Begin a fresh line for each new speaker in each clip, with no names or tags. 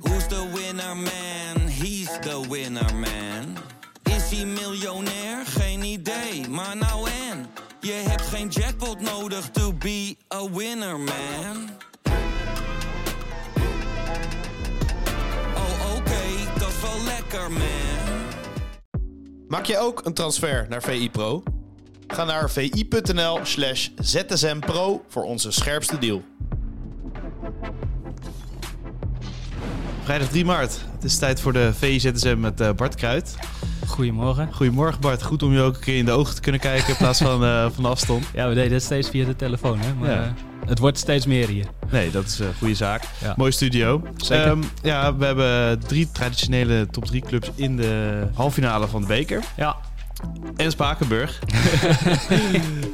Who's the winner man? He's the winner man. Is hij miljonair? Geen idee, maar nou en. Je hebt geen jackpot nodig to be a winner man. Oh oké, dat is wel lekker man.
Maak jij ook een transfer naar VI Pro? Ga naar vi.nl slash zsmpro voor onze scherpste deal. Vrijdag 3 maart. Het is tijd voor de VIZSM met eh, Bart Kruid.
Goedemorgen.
Goedemorgen Bart. Goed om je ook een keer in de ogen te kunnen kijken in plaats van eh, van afstand.
Ja, we deden het steeds via de telefoon, hè? Maar
Ja.
eh, het wordt steeds meer hier.
Nee, dat is een goede zaak.
Ja.
Mooi studio.
Zeker.
Ehm, ja, we hebben drie traditionele top 3 clubs in de halffinale van de beker.
Ja.
En Spakenburg.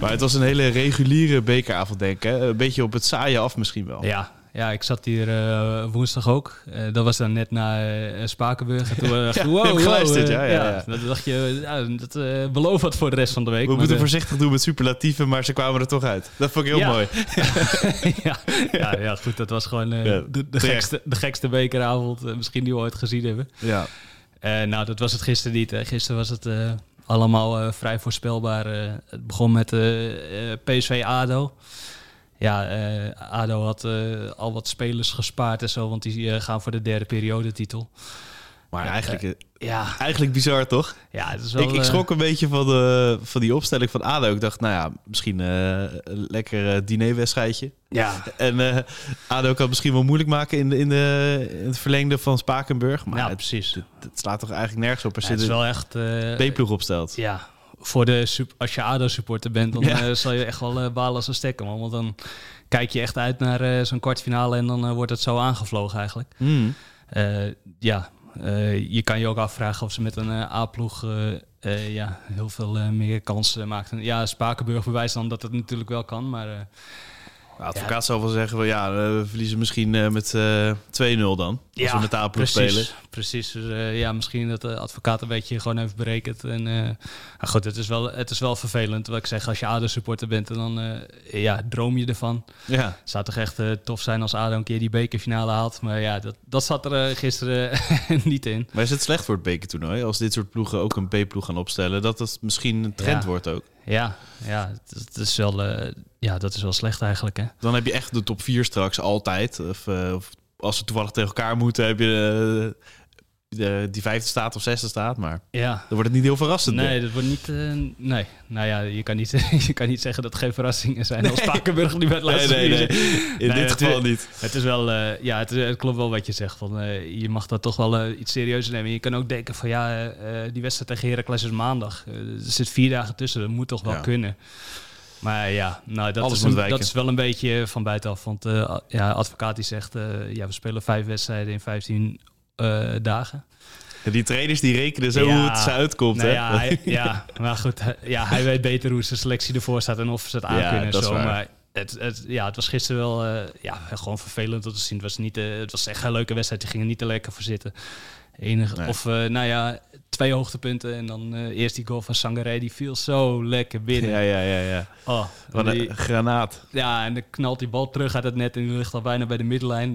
maar het was een hele reguliere bekeravond, denk ik. hè? Een beetje op het saaie af misschien wel.
Ja. Ja, ik zat hier eh, woensdag ook. Eh, dat was dan net na eh, Spakenburg. En toen eh, dacht ik,
je
wow,
hebt
wow,
geluisterd,
eh,
ja, ja, ja.
Dat dacht je, ja, dat eh, belooft wat voor de rest van de week.
We
maar,
moeten
eh,
voorzichtig doen met superlatieven, maar ze kwamen er toch uit. Dat vond ik heel
Ja.
mooi.
ja, ja, ja, goed, dat was gewoon eh,
Ja,
de, de,
terecht.
gekste, de gekste bekeravond eh, misschien die we ooit gezien hebben.
Ja.
Eh, nou, dat was het gisteren niet. Hè. Gisteren was het eh, allemaal eh, vrij voorspelbaar. eh. het begon met eh, eh, PSV ADO. Ja, eh, ADO had eh, al wat spelers gespaard en zo, want die eh, gaan voor de derde periode titel.
Maar eigenlijk, eh,
Ja,
eigenlijk bizar, toch?
ja het is wel...
Ik, ik
eh,
schrok een beetje van, de, van die opstelling van ADO. Ik dacht, nou ja, misschien eh, een lekker eh, dinerwedstrijdje.
ja,
En eh, ADO kan het misschien wel moeilijk maken in, de, in, de, in het verlengde van Spakenburg. Maar
Ja,
het, precies. Het, het slaat toch eigenlijk nergens op als
het
je
is
de
wel echt... eh,
B-ploeg opstelt.
ja, voor de sup- als je ADO-supporter bent, dan
Ja.
eh, zal je echt wel eh, balen als een stekker, man. Want dan kijk je echt uit naar eh, zo'n kwartfinale en dan eh, wordt het zo aangevlogen eigenlijk.
Hmm.
Eh, ja, eh, je kan je ook afvragen of ze met een eh, A-ploeg eh, eh, ja, heel veel eh, meer kansen maakt. En Ja, Spakenburg bewijst dan dat het natuurlijk wel kan, maar eh,
De advocaat zou wel zeggen, van, ja, eh, we verliezen misschien eh, met eh 2-0 dan. Als
Ja,
we met de A-ploeg
precies.
spelen.
Precies, dus eh, ja, misschien dat de advocaat een beetje gewoon heeft berekend. En, eh, maar goed, het is, wel, het is wel vervelend. Wat ik zeg, als je ADO-supporter bent, en dan eh, ja, droom je ervan.
Ja.
Het zou toch echt eh, tof zijn als ADO een keer die bekerfinale haalt. Maar ja, dat, dat zat er eh, gisteren niet in.
Maar is het slecht voor het bekertoernooi als dit soort ploegen ook een B-ploeg gaan opstellen? Dat dat misschien een trend
Ja.
wordt ook.
Ja, ja, dat is wel, eh, ja, dat is wel slecht eigenlijk, hè?
Dan heb je echt de top 4 straks altijd. Of, eh, of als ze toevallig tegen elkaar moeten, heb je eh, de, die vijfde staat of zesde staat. Maar
Ja.
dan wordt het niet heel verrassend. denk ik.
Nee, dat wordt niet... eh, nee, nou ja, je kan niet, je kan niet zeggen dat het geen verrassingen zijn als Spakenburg nu bij het
Nee,
laatste
nee, nee.
vier zit.
In
Nee,
dit
het-
geval niet.
Het is wel... eh, ja, het, het klopt wel wat je zegt. Van, eh, je mag dat toch wel eh, iets serieuzer nemen. Je kan ook denken van ja, eh, eh, die wedstrijd tegen Heracles is maandag. Eh, er zit vier dagen tussen, dat moet toch wel
Ja.
kunnen. Maar ja, nou, dat,
Alles
is
moet
een-
wijken.
dat is wel een beetje van buitenaf. Want eh, a- ja, advocaat die zegt, eh, ja, we spelen vijf wedstrijden in 15 eh, dagen.
En die trainers die rekenen zo
Ja.
hoe het ze uitkomt.
Nou
hè?
ja, hij, ja, maar goed, hij, ja, hij weet beter hoe zijn selectie ervoor staat en of ze het aan
Ja,
kunnen en
dat is
zo.
waar.
Maar het, het, ja, het was gisteren wel eh, ja, gewoon vervelend om te zien. Het was, niet, eh, het was echt een leuke wedstrijd, die gingen niet te lekker voor zitten. Enige,
Nee.
Of eh, nou ja, twee hoogtepunten en dan eh, eerst die goal van Sangaré, die viel zo lekker binnen.
ja, ja, ja, ja.
Oh,
Wat
die-
een granaat.
ja, en dan knalt die bal terug uit het net en die ligt al bijna bij de middenlijn.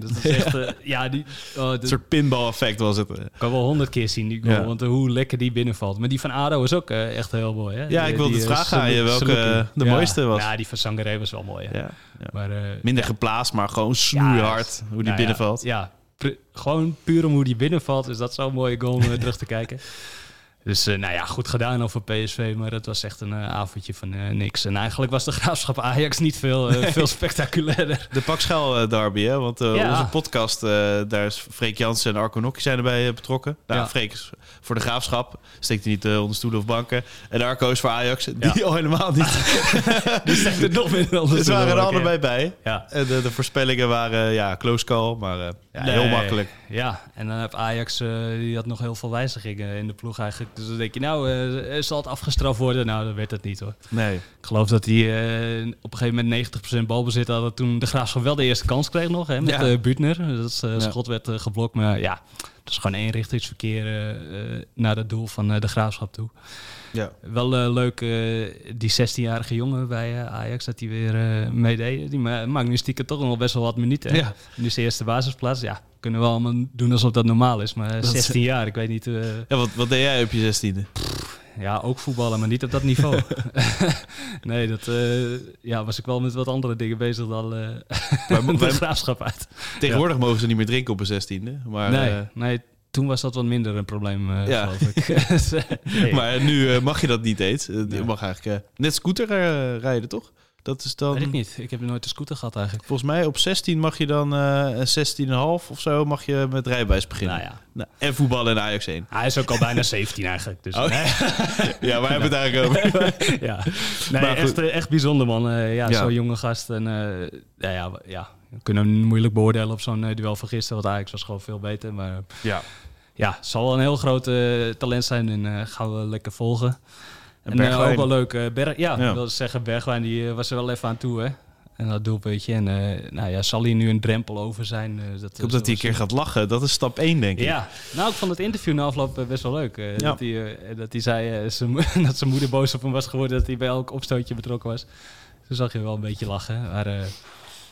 Dus dat is echt, eh, ja, die, oh, dat-
Een soort pinball-effect was het. eh,
ik kan wel honderd keer zien die goal,
Ja.
want eh, hoe lekker die binnenvalt. Maar die van Ado is ook eh, echt heel mooi. Hè?
Ja, ik wilde het
eh,
vragen aan je,
Salou-
welke,
Salouki.
eh, de
Ja.
mooiste was.
Ja, die van Sangaré was wel mooi. Hè?
Ja. Ja.
Maar, eh,
Minder geplaatst, maar gewoon snoeihard hoe die
nou ja,
binnenvalt.
Ja, Pu- gewoon puur om hoe die binnenvalt is dat zo'n mooie goal om eh, terug te kijken. Dus eh, nou ja, goed gedaan over PSV, maar dat was echt een eh, avondje van eh, niks. En eigenlijk was de graafschap Ajax niet veel, eh, veel spectaculairder.
De Pakschel eh, derby, hè? want eh,
Ja.
onze podcast, eh, daar is Freek Jansen en Arco Nokki zijn erbij eh, betrokken. Nou,
Ja.
Freek is voor de graafschap, steekt hij niet eh, onder stoelen of banken. En Arco is voor Ajax, die
Ja.
al helemaal niet.
Die steekt er nog minder anders
Ze waren er
door, oké.
allebei bij.
Ja.
En de, de voorspellingen waren, eh, ja, close call, maar eh, ja, heel
Nee.
makkelijk.
Ja, en dan heb Ajax eh, die had nog heel veel wijzigingen in de ploeg eigenlijk. Dus dan denk je, nou, eh, zal het afgestraft worden? Nou, dat werd het niet hoor.
Nee.
Ik geloof dat hij eh, op een gegeven moment 90% balbezit had. dat Toen de Graafschap wel de eerste kans kreeg nog, hè, met
Ja.
eh Buutner. Dat is, eh,
Ja.
schot werd eh, geblokt, maar ja, dat is gewoon eenrichtingsverkeer eh, eh, naar het doel van eh, de Graafschap toe.
Ja.
Wel eh, leuk, eh, die 16-jarige jongen bij eh, Ajax, dat hij weer eh meedeed. Die ma- maakt nu stiekem toch nog best wel wat minuten. hè.
Ja.
Nu is de eerste basisplaats. Ja, kunnen kunnen wel allemaal doen alsof dat normaal is. Maar
is-
16 jaar, ik weet niet... eh,
Ja, wat, wat deed jij op je zestiende?
ja, ook voetballen, maar niet op dat niveau. nee, dat eh, ja, was ik wel met wat andere dingen bezig dan eh
Wij-
de
wij-
graafschap uit.
Tegenwoordig mogen ze niet meer drinken op een zestiende. Maar,
nee,
eh,
nee, toen was dat wat minder een probleem, eh,
Ja.
geloof ik. eh, Nee.
maar nu eh, mag je dat niet eens. Eh,
Nee.
Je mag eigenlijk eh, net scooter eh, rijden, toch? Dat is dan...
Weet ik niet. Ik heb nooit een scooter gehad eigenlijk.
Volgens mij op 16 mag je dan, eh 16,5 of zo, mag je met rijbewijs beginnen.
Nou ja,
Nou, en voetballen en Ajax 1.
hij is ook al bijna 17 eigenlijk. Dus
Oh.
nee.
Ja, wij hebben het eigenlijk over.
ja. Nee,
Maar goed.
echt, eh, echt bijzonder man. Eh, ja,
Ja.
zo'n jonge gast. En, eh, ja, ja, we- ja, we kunnen hem moeilijk beoordelen op zo'n eh, duel van gisteren. Want Ajax was gewoon veel beter. Maar eh,
Ja.
ja, zal wel een heel groot eh, talent zijn. En eh, gaan we lekker volgen. En, eh,
Bergwijn.
ook wel leuk. eh, Berg, ja,
Ja.
ik wil zeggen, Bergwijn die, eh, was er wel even aan toe. Hè? En dat doelpuntje. En eh, nou ja, zal hier nu een drempel over zijn? eh, dat,
Ik hoop dat hij een keer gaat lachen. Dat is stap 1, denk ik.
ja, nou, ik vond het interview na afloop eh, best wel leuk. eh,
Ja.
dat, hij, eh, dat hij zei eh, zijn mo- dat zijn moeder boos op hem was geworden, dat hij bij elk opstootje betrokken was. Toen zag je wel een beetje lachen. Maar eh,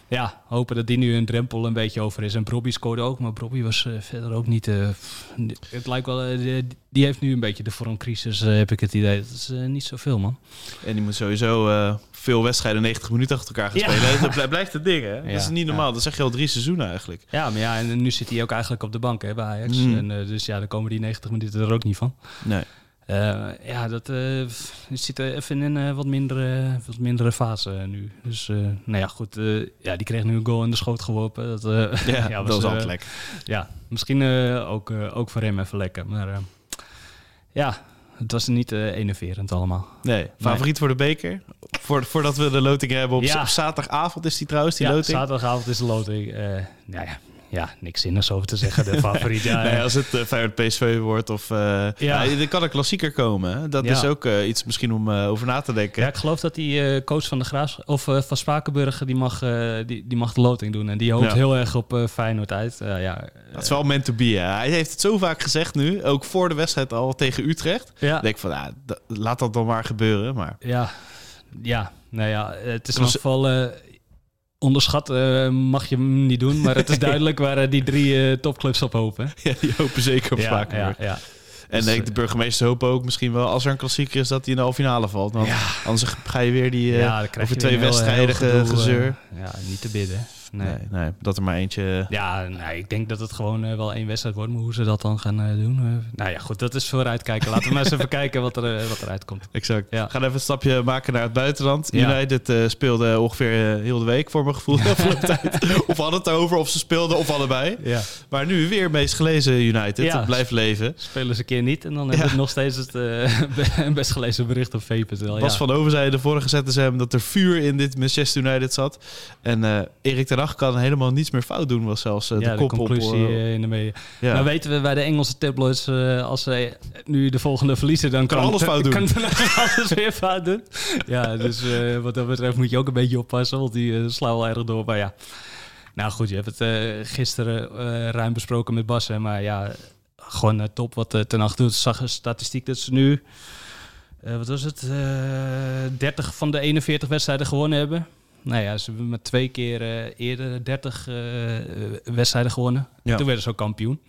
ja, hopen dat die nu een drempel een beetje over is. En Bobby scoorde ook, maar Bobby was eh, verder ook niet... eh, pff, het lijkt wel, eh, die- die heeft nu een beetje de vormcrisis, eh, heb ik het idee. Dat is eh, niet zoveel, man.
En die moet sowieso eh, veel wedstrijden 90 minuten achter elkaar gaan
Ja.
spelen. Dat bl- blijft het ding, hè? Dat is
Ja,
niet normaal. Dat zeg je al drie seizoenen eigenlijk.
Ja, maar ja, en, eh, nu zit hij ook eigenlijk op de bank hè, bij Ajax.
Mm.
En, eh, dus ja, dan komen die 90 minuten er ook niet van.
Nee.
Eh, ja, dat eh, f- zit eh, even in een eh, wat, mindere, wat mindere fase eh, nu. Dus eh, nou ja, goed. eh, ja, die kreeg nu een goal in de schoot geworpen. Dat, eh,
Ja,
ja,
dat is
eh,
altijd lekker.
Ja, misschien eh, ook, eh, ook voor hem even lekker. Maar eh, ja, het was niet eh enerverend allemaal.
Nee, favoriet voor de beker. Voor, voordat we de loting hebben op,
Ja.
op zaterdagavond is die trouwens, die
ja,
loting.
zaterdagavond is de loting. eh, nou ja, ja, niks zinnigs over te zeggen. De favoriet. Ja,
Nee, als het eh Feyenoord PSV wordt of... eh
Ja.
nou, er kan een klassieker komen. hè. Dat
Ja.
is ook eh, iets misschien om eh, over na te denken.
Ja, ik geloof dat die eh, coach van de Graafs of eh, van Spakenburg die mag, eh, die, die mag de loting doen. En die hoopt
Ja.
heel erg op eh, Feyenoord uit. Eh, ja,
Dat is wel meant to be. Hè. Hij heeft het zo vaak gezegd nu, ook voor de wedstrijd al tegen Utrecht.
ja,
Ik denk van, ah, d- laat dat dan maar gebeuren. Maar
ja, ja, nou ja, het is in
Klas-
ieder geval eh, onderschat. eh, mag je hem niet doen, maar het is duidelijk waar eh, die drie eh, topclubs op hopen.
ja, die hopen zeker op
ja,
Spakenburg.
ja, ja.
En
Dus,
denk
eh,
de burgemeester hoopt ook misschien wel, als er een klassieker is, dat hij in de halve finale valt. Want Anders ga je weer die eh,
ja, dan krijg
over
je
twee
weer een heel- heel
wedstrijden ge-
gedoe, eh,
gezeur.
ja, niet te bidden. Nee.
nee, nee, dat er maar eentje... eh,
Ja, nou, ik denk dat het gewoon eh, wel één wedstrijd wordt. Maar hoe ze dat dan gaan eh, doen. eh, nou ja, goed, dat is vooruitkijken. Laten we maar eens even kijken wat er, eh, wat eruit komt.
Exact.
Ja.
We gaan even een stapje maken naar het buitenland.
Ja.
United eh, speelde ongeveer eh, heel de week, voor mijn gevoel, de afgelopen tijd. Of hadden het over, of ze speelden, of allebei.
Ja.
Maar nu weer meest gelezen United.
Ja.
Het blijft leven.
Spelen ze een keer niet en dan hebben we nog steeds het eh, best gelezen bericht op VPL.
Bas
Ja.
van Over zei in de vorige ZSM dat er vuur in dit Manchester United zat. En eh, Erik ten Hag kan helemaal niets meer fout doen, was zelfs eh,
ja,
de
de,
kop op,
conclusie
eh,
eh, in de media.
ja.
Nou weten we bij de Engelse tabloids, eh, als zij nu de volgende verliezen, dan
Kan
kan,
alles fout doen.
Kan alles weer fout doen. Ja, dus eh, wat dat betreft moet je ook een beetje oppassen, want die eh, slaan wel erg door. Maar ja, nou goed, je hebt het eh, gisteren eh, ruim besproken met Bas, hè, maar ja, gewoon eh, top wat eh, Ten Hag doet. Zag een statistiek dat ze nu, eh, wat was het, eh, 30 van de 41 wedstrijden gewonnen hebben. Nou ja, ze hebben met twee keer eh, eerder 30 eh, eh, wedstrijden gewonnen.
Ja.
Toen werden ze ook kampioen.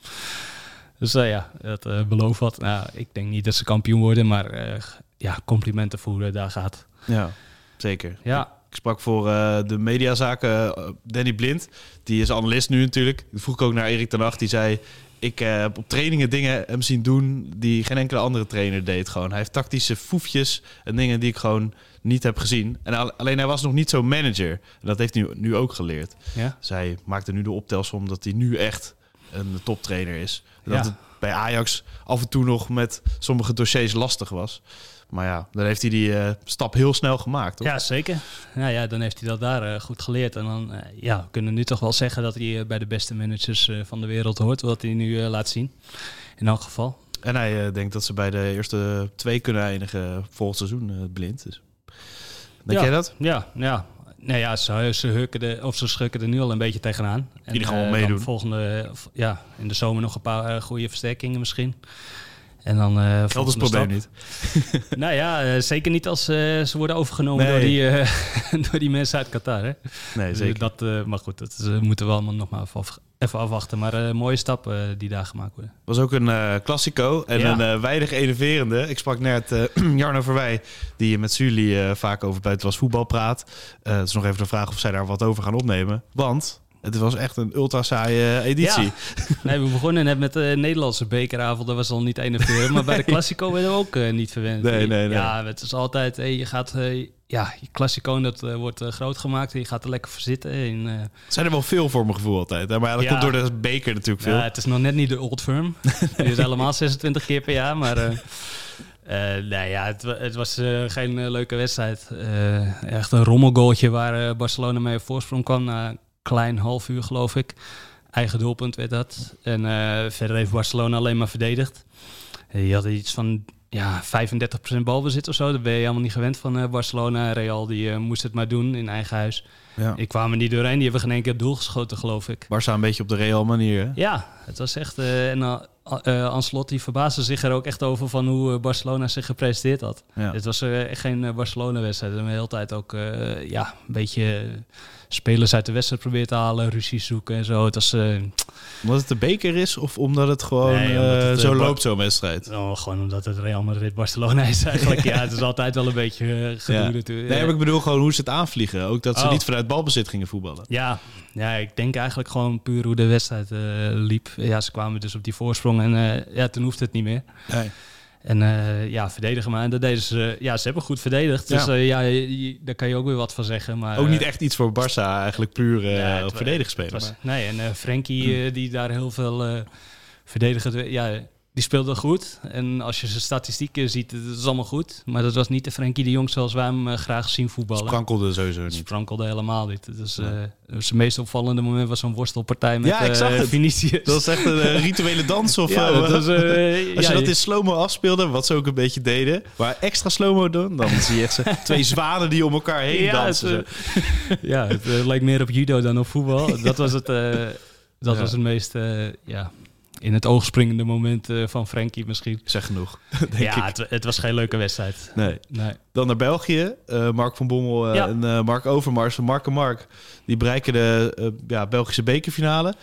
Dus nou ja, dat eh belooft wat. Nou, ik denk niet dat ze kampioen worden, maar eh, ja, complimenten voeren, daar gaat.
Ja, zeker.
Ja,
Ik sprak voor eh, de mediazaken eh, Danny Blind. Die is analist nu natuurlijk. Ik vroeg ook naar Erik ten Hag. Die zei, ik eh, heb op trainingen dingen hem zien doen die geen enkele andere trainer deed. Gewoon. Hij heeft tactische foefjes en dingen die ik gewoon niet heb gezien. En al- alleen hij was nog niet zo'n manager. En dat heeft hij nu, nu ook geleerd.
ja.
Zij maakte nu de optelsom dat hij nu echt een toptrainer is. En Dat
Ja.
het bij Ajax af en toe nog met sommige dossiers lastig was. Maar ja, dan heeft hij die eh, stap heel snel gemaakt. Toch?
ja zeker. Nou ja, dan heeft hij dat daar eh, goed geleerd. En dan eh, ja, we kunnen nu toch wel zeggen dat hij eh, bij de beste managers eh, van de wereld hoort, wat hij nu eh, laat zien. In elk geval.
En hij eh, denkt dat ze bij de eerste twee kunnen eindigen volgend seizoen eh, blind. Dus. Denk
Ja.
jij dat?
Ja, ja. Nou ja, ze, ze, hukken de, of ze schukken er nu al een beetje tegenaan. En,
Die gaan wel
eh,
meedoen.
dan Volgende, eh, v- ja, in de zomer nog een paar eh, goede versterkingen misschien. En dan eh
Geld is het
volgende
probleem
stap.
niet.
Nou ja, eh, zeker niet als eh, ze worden overgenomen
Nee.
door, die, eh, door die mensen uit Qatar. Hè?
Nee,
Dus
zeker.
Dat, eh, maar goed, dat is, eh, moeten we allemaal nog maar af- Even afwachten, maar eh, mooie stap eh, die daar gemaakt worden.
was ook een eh klassico en
Ja.
een eh, weinig enerverende. Ik sprak net eh Jarno Verwij, die met Sully eh, vaak over buitenlands voetbal praat. Eh, Het is nog even de vraag of zij daar wat over gaan opnemen. Want het was echt een ultra saaie eh, editie.
Nee, we begonnen net met de Nederlandse bekeravond. Dat was al niet enerverend. Maar bij de Classico werden we ook eh, niet verwend.
Nee, nee, nee.
Ja, het is altijd... eh, je gaat... eh, ja, je Classico dat, eh, wordt eh, groot gemaakt. En je gaat er lekker voor zitten. En, eh,
Zijn er wel veel voor mijn gevoel altijd. Hè? Maar ja, dat
Ja.
komt door de beker natuurlijk veel.
ja, Nou, het is nog net niet de Old Firm. Die is helemaal 26 keer per jaar. Maar eh eh, nee, ja, het, wa- het was eh, geen eh, leuke wedstrijd. Eh, echt een rommelgoaltje waar eh, Barcelona mee op voorsprong kwam. Na een klein half uur, geloof ik. Eigen doelpunt werd dat. En eh, verder heeft Barcelona alleen maar verdedigd. Eh, Je had iets van ja, 35% balbezit of zo. Dat ben je helemaal niet gewend van eh, Barcelona. Real die, eh, moest het maar doen in eigen huis.
Ja.
Ik kwam er niet doorheen. Die hebben geen één keer op doel geschoten, geloof ik.
Barça een beetje op de real manier. Hè?
Ja, het was echt. eh, en eh, eh, Ancelotti verbaasde zich er ook echt over van hoe eh, Barcelona zich gepresenteerd had.
Ja.
Het was eh, echt geen eh, Barcelona-wedstrijd. We hebben de hele tijd ook eh, ja, een beetje eh, spelers uit de wedstrijd proberen te halen, ruzie zoeken en zo. Het was eh,
Omdat het de beker is of omdat het gewoon
Nee, omdat
eh,
het, eh,
zo
Bar-
loopt zo'n wedstrijd?
oh, gewoon omdat het Real Madrid Barcelona is eigenlijk. ja, het is altijd wel een beetje eh, gedoe
Ja.
natuurlijk.
Nee, maar ik bedoel gewoon hoe ze het aanvliegen. Ook dat ze
Oh.
niet vanuit balbezit gingen voetballen.
Ja, ja, ik denk eigenlijk gewoon puur hoe de wedstrijd eh, liep. Ja, ze kwamen dus op die voorsprong en eh, ja, toen hoefde het niet meer. En eh, ja, verdedigen maar. En dat deden ze. eh, Ja, ze hebben goed verdedigd. Dus
Ja.
eh, ja, je- je- daar kan je ook weer wat van zeggen. Maar,
Ook niet
eh,
echt iets voor Barça, eigenlijk puur
nee,
eh
het
op
wa-
verdedig
het
spelen. Hmm.
was- nee, en eh Frenkie, eh, die daar heel veel eh verdedigen. Ja, die speelde goed. En als je zijn statistieken ziet, het is allemaal goed. Maar dat was niet de Frenkie de Jong zoals wij hem eh, graag zien voetballen.
sprankelde sowieso
Ze
niet.
sprankelde helemaal niet. Dus, eh zijn meest opvallende moment was zo'n worstelpartij met
Ja, ik zag
eh,
het.
Vinicius.
Dat is echt een eh, rituele dans of
ja,
eh,
dat was, eh,
Als
ja,
je dat in slow-mo afspeelde, wat ze ook een beetje deden, maar extra slow-mo doen, dan zie je echt zo twee zwanen die om elkaar heen
ja,
dansen.
Het, eh, ja, het eh, lijkt meer op judo dan op voetbal. Dat was het, eh, dat
Ja.
was het meest eh, ja, in het oog springende moment eh, van Frenkie misschien.
Zeg genoeg.
ja, Het, het was geen leuke wedstrijd.
Nee.
Nee.
Dan naar België. Eh, Mark van Bommel eh,
Ja.
en eh, Mark Overmars. Mark en Mark, die bereiken de eh, ja, Belgische bekerfinale.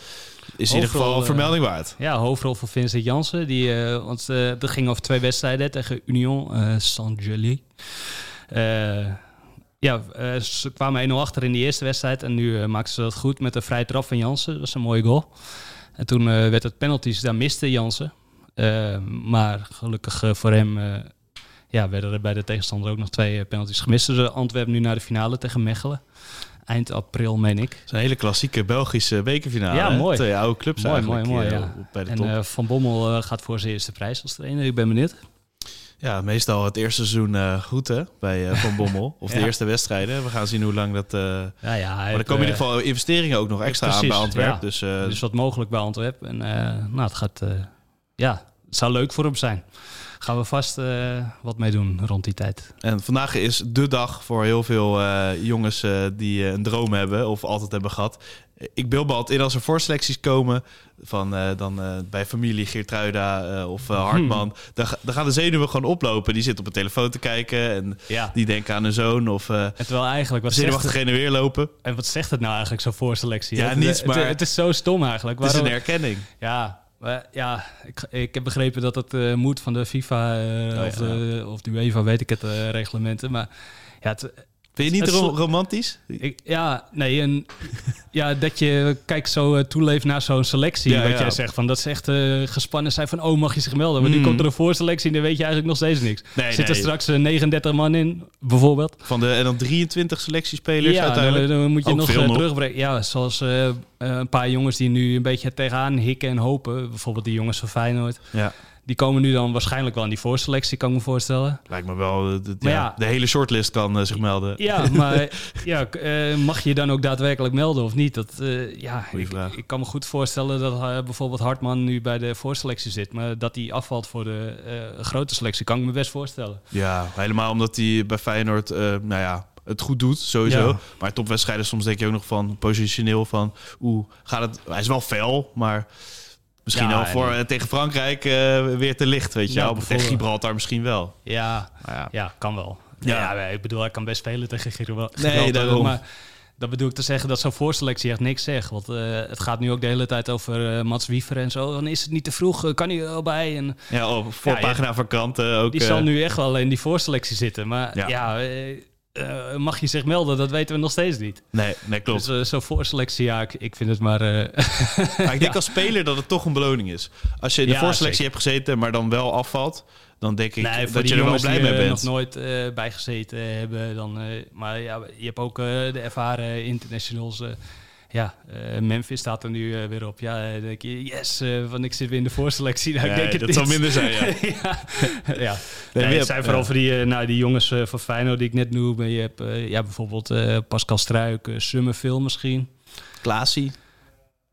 Is in ieder
Overal,
geval een
eh,
vermelding waard.
Ja, hoofdrol van Vincent Jansen. Die, eh, want eh dat ging over twee wedstrijden tegen Union eh Saint-Gelais. Eh, ja, eh, ze kwamen 1-0 achter in die eerste wedstrijd. En nu eh, maakten ze dat goed met een vrije trap van Jansen. Dat was een mooie goal. En toen eh, werd het penalties, daar miste Jansen. Eh, maar gelukkig eh, voor hem eh, ja, werden er bij de tegenstander ook nog twee eh, penalties gemist. Dus eh, Antwerpen nu naar de finale tegen Mechelen. Eind april, meen ik.
Het is een hele klassieke Belgische bekerfinale.
Ja,
hè?
mooi.
Twee oude clubs
Mooi,
eigenlijk
mooi, mooi,
eh,
ja.
bij de
En
top.
eh, Van Bommel eh, gaat voor zijn eerste prijs als trainer. Ik ben benieuwd.
ja, meestal het eerste seizoen eh, goed hè, bij eh, Van Bommel. Of de
Ja.
eerste wedstrijden. We gaan zien hoe lang dat... eh,
Ja, ja, hij
Maar er
heeft,
komen in
eh,
ieder geval investeringen ook nog extra aan bij
precies,
Antwerpen.
ja.
Dus, eh,
dus wat mogelijk bij Antwerpen. En eh, nou, het gaat... eh, ja, het zou leuk voor hem zijn. Gaan we vast eh, wat mee doen rond die tijd.
en vandaag is de dag voor heel veel eh, jongens eh, die eh, een droom hebben of altijd hebben gehad. Ik beeld me altijd in als er voorselecties komen van eh, dan eh, bij familie Geertruida eh, of eh, Hartman.
Hmm.
Dan, ga- dan gaan de zenuwen gewoon oplopen. Die zitten op hun telefoon te kijken en
Ja.
die denken aan hun zoon of eh
En terwijl eigenlijk... Wat zegt, het,
zenuwachtig heen en weer lopen.
en wat zegt het nou eigenlijk, zo'n voorselectie?
Ja,
Het-
niets,
het,
maar-
Het, is zo stom eigenlijk.
Het is een
Waarom-
herkenning.
Ja, maar ja ik, ik heb begrepen dat het eh, moet van de FIFA eh,
ja,
of, de, of de UEFA, weet ik het, eh, reglementen. Maar ja, het,
Vind je niet
Het is-
ro- romantisch?
Ik, ja, nee, en, ja, dat je kijk zo eh, toeleeft naar zo'n selectie,
Ja,
wat
ja.
jij zegt. Van, dat ze echt eh, gespannen zijn van, oh, mag je zich melden? Maar
Mm.
nu komt er een voorselectie en dan weet je eigenlijk nog steeds niks.
Nee,
Zit er
nee.
straks eh, 39 man in, bijvoorbeeld?
Van de, en dan 23 selectiespelers
ja, dan,
uiteindelijk.
dan moet je
Ook
nog
veel
eh,
nog.
terugbrengen. Ja, zoals eh, eh, een paar jongens die nu een beetje tegenaan hikken en hopen. Bijvoorbeeld die jongens van Feyenoord.
Ja.
Die komen nu dan waarschijnlijk wel in die voorselectie, kan ik me voorstellen.
Lijkt me wel, eh, dat, ja,
Maar ja.
de hele shortlist kan eh, zich melden.
Ja, maar ja, k- eh, mag je je dan ook daadwerkelijk melden of niet? Dat, eh, ja,
Goeie
ik,
vraag.
ik kan me goed voorstellen dat eh, bijvoorbeeld Hartman nu bij de voorselectie zit. Maar dat hij afvalt voor de eh, grote selectie, kan ik me best voorstellen.
Ja, helemaal omdat hij bij Feyenoord, eh, nou ja, het goed doet sowieso.
Ja.
Maar topwedstrijden soms denk je ook nog van positioneel van, oeh, gaat het? Hij is wel fel, maar misschien
Ja,
wel voor
en-
eh, tegen Frankrijk eh, weer te licht, weet je.
Ja,
wel. Of tegen
bijvoorbeeld.
Gibraltar misschien wel.
Ja,
Nou ja.
ja kan wel.
Ja.
Ja. ik bedoel, hij kan best spelen tegen Giro.
daarom.
Maar Dat bedoel ik te zeggen dat zo'n voorselectie echt niks zegt. Want eh, het gaat nu ook de hele tijd over eh, Mats Wiever en zo. Dan is het niet te vroeg, eh, kan hij er wel bij? En
Ja, op voorpagina van kranten ook.
die
eh,
zal nu echt wel in die voorselectie zitten. Maar
Ja.
ja, eh, eh, mag je zich melden? Dat weten we nog steeds niet.
Nee, nee, klopt.
Dus eh, zo'n voorselectie, ja, ik, ik vind het maar... eh,
Maar ik denk als speler dat het toch een beloning is. Als je in de
Ja,
voorselectie hebt gezeten, maar dan wel afvalt, dan denk ik
nee, voor
dat
die
je er wel
jongens
blij
die
mee
er
bent.
nog nooit eh, bij gezeten hebben. Dan, eh, maar ja, je hebt ook eh, de ervaren internationals. eh, ja, eh, Memphis staat er nu eh, weer op. Ja, eh, dan denk je, yes, eh, want ik zit weer in de voorselectie. Nou, ik
Nee,
denk het
dat
niet.
zal minder zijn, ja.
ja. ja.
Nee,
Nee,
Wip,
het zijn vooral
ja.
voor die, eh, nou, die jongens eh, van Feyenoord die ik net noemde. Je hebt eh, ja, bijvoorbeeld eh, Pascal Struik, eh, Summerville misschien.
Klaasie.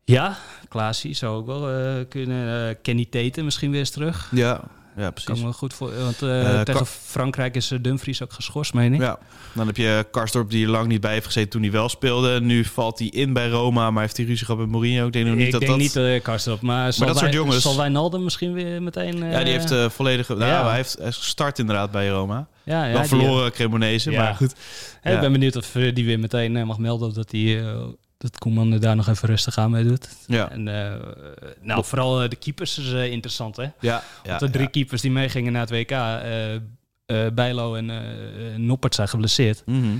Ja, Klaasie zou ook wel eh, kunnen. Eh, Kenny Teten misschien weer eens terug.
Ja, ja,
Kan
precies.
ik me goed voor. Want eh,
Eh,
tegen
Ka-
Frankrijk is eh, Dumfries ook geschorst, meen ik.
Ja. Dan heb je Karsdorp die er lang niet bij heeft gezeten toen hij wel speelde. Nu valt hij in bij Roma, maar heeft hij ruzie gehad met Mourinho. Ik denk nog niet
ik
dat
denk
dat...
niet eh Karsten op, maar, zal
dat soort
Wij-
jongens-
Zal Wijnaldum misschien weer meteen... eh,
ja, die heeft eh volledige... Nou,
ja.
hij heeft hij is gestart inderdaad bij Roma.
ja, ja,
dan
die-
verloren Cremonese,
Ja.
maar goed.
Hè, Ik ben benieuwd of eh, die weer meteen eh, mag melden of dat, die, eh, dat Koeman er daar nog even rustig aan mee doet.
Ja,
En, eh, nou, vooral eh, de keepers is eh, interessant, hè?
ja, ja,
Want de drie keepers die meegingen naar het WK, eh, eh, Bijlo en eh, eh, Noppert zijn geblesseerd.
ja. Mhm.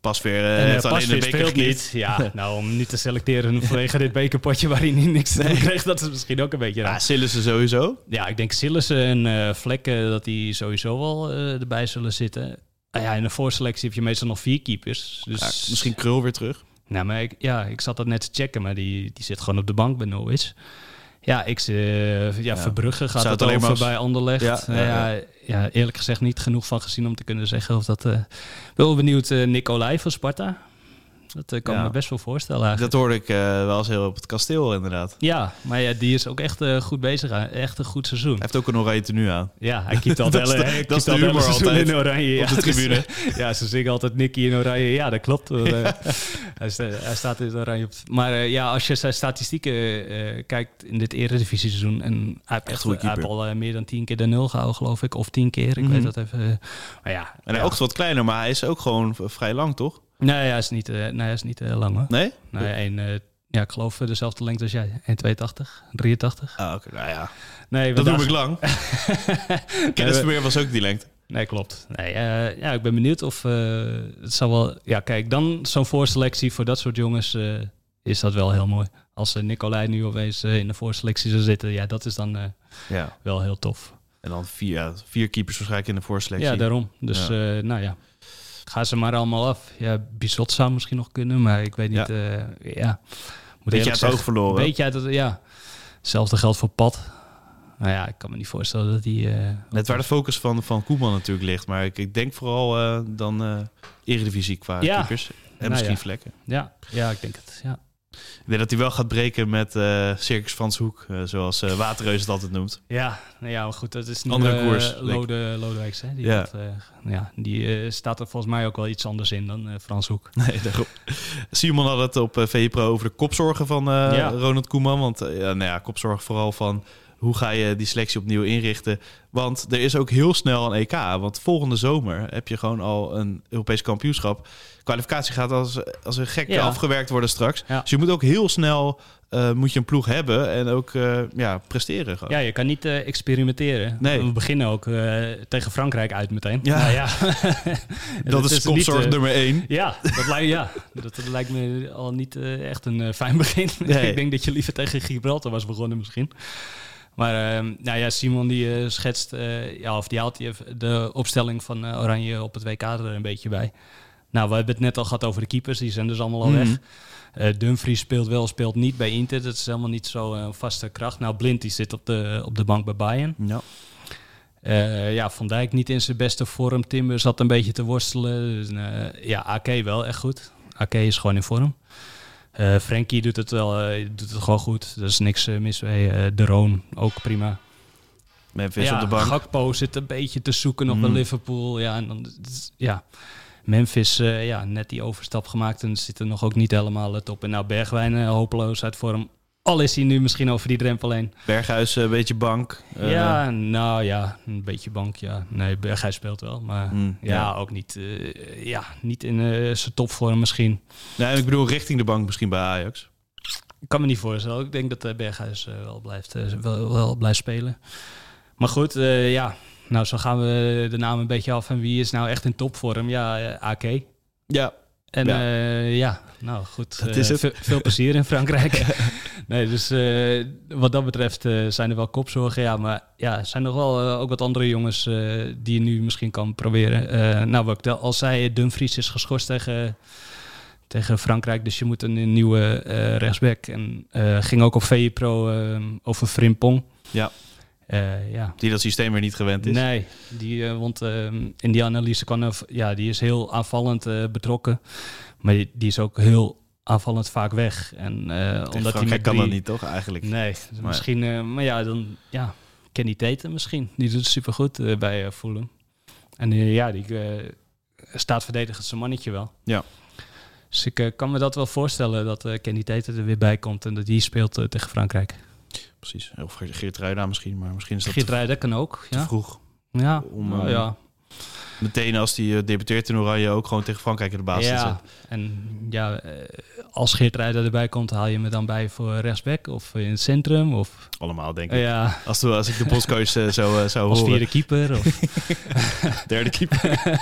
Pas weer eh,
En
heeft
eh,
alleen de
Pasveer
beker
speelt
geknipt.
niet. Ja, nou, om niet te selecteren vanwege dit bekerpotje waarin hij niks te doen kreeg, dat is misschien ook een beetje raar.
Ja, Sillissen sowieso.
Ja, ik denk Sillissen en eh Vlekken dat die sowieso wel eh, erbij zullen zitten. Ah ja, in de voorselectie heb je meestal nog vier keepers. Dus
Ja, misschien Krul weer terug.
Nou, maar ik, ja, ik zat dat net te checken, maar die, die zit gewoon op de bank bij Norwich. Ja, ik, eh, ja, Verbrugge gaat
Zou het
het
alleen
over
maar als-
bij Anderlecht.
Ja,
Ja,
ja,
ja, ja, eerlijk gezegd niet genoeg van gezien om te kunnen zeggen of dat... eh, Ik ben wel benieuwd, eh Nick Olij van Sparta. Dat eh, kan
Ja.
me best wel voorstellen eigenlijk.
Dat hoorde ik eh, wel eens heel op het kasteel inderdaad.
Ja, maar ja, die is ook echt eh, goed bezig. aan- Echt een goed seizoen.
Hij heeft ook een oranje tenue aan.
Ja, hij kiet al
Dat is
hele,
de-
hij
dat
kiet
is de
al
humor
hele seizoen
altijd
in oranje.
op de
ja. Dus, eh,
tribune.
ja, ze zingen altijd Nicky in oranje. Ja, dat klopt. Want, eh, hij, sta- hij staat in het oranje. op- Maar eh, ja, als je zijn statistieken eh, kijkt in dit eredivisie seizoen... En hij heeft, echt,
goede
hij heeft
keeper. Mhm.
al eh, meer dan tien keer de nul gehouden, geloof ik. Of tien keer, ik weet dat even. eh, Maar ja,
En
ja.
hij oogt wat kleiner, maar hij is ook gewoon v- vrij lang, toch?
Nee, hij is niet, eh, nee, hij is niet eh, lang, hoor.
Nee?
Nee, één, eh, ja, ik geloof eh, dezelfde lengte als jij. 1,82, 83.
Ah, oké. Nou ja,
Nee,
dat
want
noem ik lang. Eh, Kennis Vermeer was ook die lengte.
Nee, klopt. Nee, eh, ja, ik ben benieuwd of eh, het zou wel. Ja, kijk, dan zo'n voorselectie voor dat soort jongens eh, is dat wel heel mooi. Als eh, Nicolai nu opeens eh, in de voorselectie zou zitten, ja, dat is dan eh,
Ja.
wel heel tof.
En dan vier, ja, vier keepers waarschijnlijk in de voorselectie.
Ja, daarom. Dus eh, nou ja, ga ze maar allemaal af. Ja, Bizot zou misschien nog kunnen, maar ik weet niet. eh, ja, moet
Beetje
eerlijk
uit het
zeggen,
oog verloren.
Weet je, uit het- ja, hetzelfde geldt voor Pat. Nou ja, ik kan me niet voorstellen dat die. eh,
Net waar de focus van, van Koeman natuurlijk ligt. Maar ik, ik denk vooral eh, dan eh, Eredivisie qua
Ja.
keepers. En
Nou
misschien
ja.
vlekken.
ja, ja, ik denk het. Ja.
Ik denk dat hij wel gaat breken met eh, Circus Frans Hoek. eh, zoals eh Waterreus het altijd noemt.
Ja, nou ja, maar goed, dat is nu
Andere
eh,
koers, denk ik.
Lode, Lodewijks, hè? Die,
Ja.
dat, eh, ja, die eh, staat er volgens mij ook wel iets anders in dan eh, Frans Hoek.
Nee, daarom. Simon had het op eh, VE Pro over de kopzorgen van eh,
Ja.
Ronald Koeman. Want eh, ja, nou ja, kopzorg vooral van hoe ga je die selectie opnieuw inrichten. Want er is ook heel snel een EK. Want volgende zomer heb je gewoon al een Europees kampioenschap. Kwalificatie gaat als, als een gek
Ja.
afgewerkt worden straks.
Ja.
Dus je moet ook heel snel eh, moet je een ploeg hebben en ook eh, ja, presteren. Gewoon.
Ja, je kan niet eh, experimenteren.
Nee.
We beginnen ook eh, tegen Frankrijk uit meteen.
Ja.
Nou ja.
dat, is
niet,
kopzorg
eh,
nummer één.
ja, dat lijkt, ja, dat, dat lijkt me al niet eh, echt een eh, fijn begin.
Nee.
ik denk dat je liever tegen Gibraltar was begonnen misschien. Maar ehm, nou ja, Simon die eh, schetst, eh, ja, of die haalt die even de opstelling van eh, Oranje op het WK er een beetje bij. Nou, we hebben het net al gehad over de keepers, die zijn dus allemaal al weg. Eh, Dumfries speelt wel, speelt niet bij Inter. Dat is helemaal niet zo'n vaste kracht. Nou, Blind die zit op de, op de bank bij Bayern.
Ja.
Eh, ja, Van Dijk niet in zijn beste vorm. Timber zat een beetje te worstelen. Dus, eh, ja, AK wel echt goed. AK is gewoon in vorm. Eh Frenkie doet het wel, eh, doet het gewoon goed. Er is niks eh, mis mee. Eh, de Roon ook prima.
Memphis
ja,
op de bank. Mm.
Gakpo zit een beetje te zoeken op bij Liverpool. Ja, en dan, ja. Memphis, eh, ja, net die overstap gemaakt en zit er nog ook niet helemaal het op. En nou Bergwijn eh, hopeloos uit vorm. Al is hij nu misschien over die drempel heen.
Berghuis, eh, een beetje bank. eh,
ja, nou ja, een beetje bank, ja. Nee, Berghuis speelt wel, maar
Hmm,
Mm, ja,
ja.
ook niet, eh, ja, niet in eh, zijn topvorm misschien.
Nee, nou, ik bedoel richting de bank misschien bij Ajax.
Ik kan me niet voorstellen. Ik denk dat eh, Berghuis eh, wel, blijft, eh, wel, wel blijft spelen. Maar goed, eh, ja. Nou, zo gaan we de naam een beetje af. En wie is nou echt in topvorm? Ja, eh, AK.
Ja.
En
Ja.
ja, ja nou goed.
Dat
eh,
is het.
ve- veel plezier in Frankrijk. nee, dus eh, wat dat betreft eh, zijn er wel kopzorgen. Ja, maar ja, er zijn nog wel eh, ook wat andere jongens eh, die je nu misschien kan proberen. Eh, nou, wat ik wel al zei, Dumfries is geschorst tegen, tegen Frankrijk. Dus je moet een, een nieuwe eh, rechtsback. En eh, ging ook op VPRO eh, over Frimpong.
Ja.
Eh, ja,
Die dat systeem weer niet gewend is.
Nee, die, eh, want ehm, in die analyse kan er, ja, die is heel aanvallend eh, betrokken. Maar die, die is ook heel aanvallend vaak weg. En eh, omdat hij
Frankrijk
met
kan dat
drie-
niet, toch? Eigenlijk.
Nee, dus
Maar-
misschien, eh, maar ja, dan, ja, Kenny Tate misschien. Die doet het supergoed eh, bij eh Fulham. En eh, ja, die eh, staat verdedigend zijn mannetje wel.
Ja.
Dus ik eh, kan me dat wel voorstellen dat eh, Kenny Tate er weer bij komt en dat die speelt eh, tegen Frankrijk.
Precies. Of Geert Ruida misschien, maar misschien is dat
Geert Rijder kan ook,
te
ja.
vroeg.
Ja,
om,
nou
eh,
ja.
Meteen als die eh, debuteert in Oranje ook gewoon tegen Frankrijk in de basis
ja.
zet.
En ja, eh, als Geert Rijder erbij komt, haal je me dan bij voor rechtsback of in het centrum of eh,
Allemaal, denk ik.
Oh, ja,
Als, de- als ik de postcoach eh, zo eh, zou
als
horen.
vierde keeper. Of,
Derde keeper.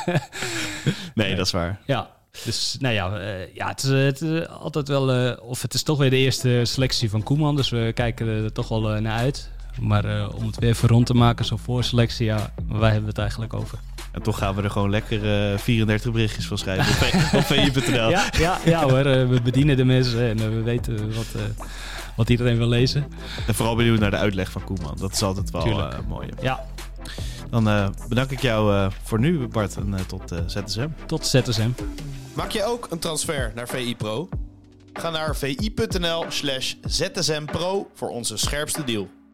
nee, dat is waar.
ja. Dus nou ja, eh, ja het, is, eh, het is altijd wel, eh, of het is toch weer de eerste selectie van Koeman, dus we kijken er toch wel eh, naar uit. Maar eh, om het weer even rond te maken, zo'n voorselectie, ja, waar hebben we het eigenlijk over?
En toch gaan we er gewoon lekker eh, 34 berichtjes van schrijven op v- op vi.nl.
Ja, ja, ja hoor, eh, we bedienen de mensen en eh, we weten wat, eh, wat iedereen wil lezen.
En vooral benieuwd naar de uitleg van Koeman. Dat is altijd wel
Tuurlijk.
eh, mooi.
Ja,
Dan eh, bedank ik jou eh, voor nu, Bart. En eh, tot eh ZSM.
tot ZSM.
Maak jij ook een transfer naar VI Pro? Ga naar vi.nl slash zsmpro voor onze scherpste deal.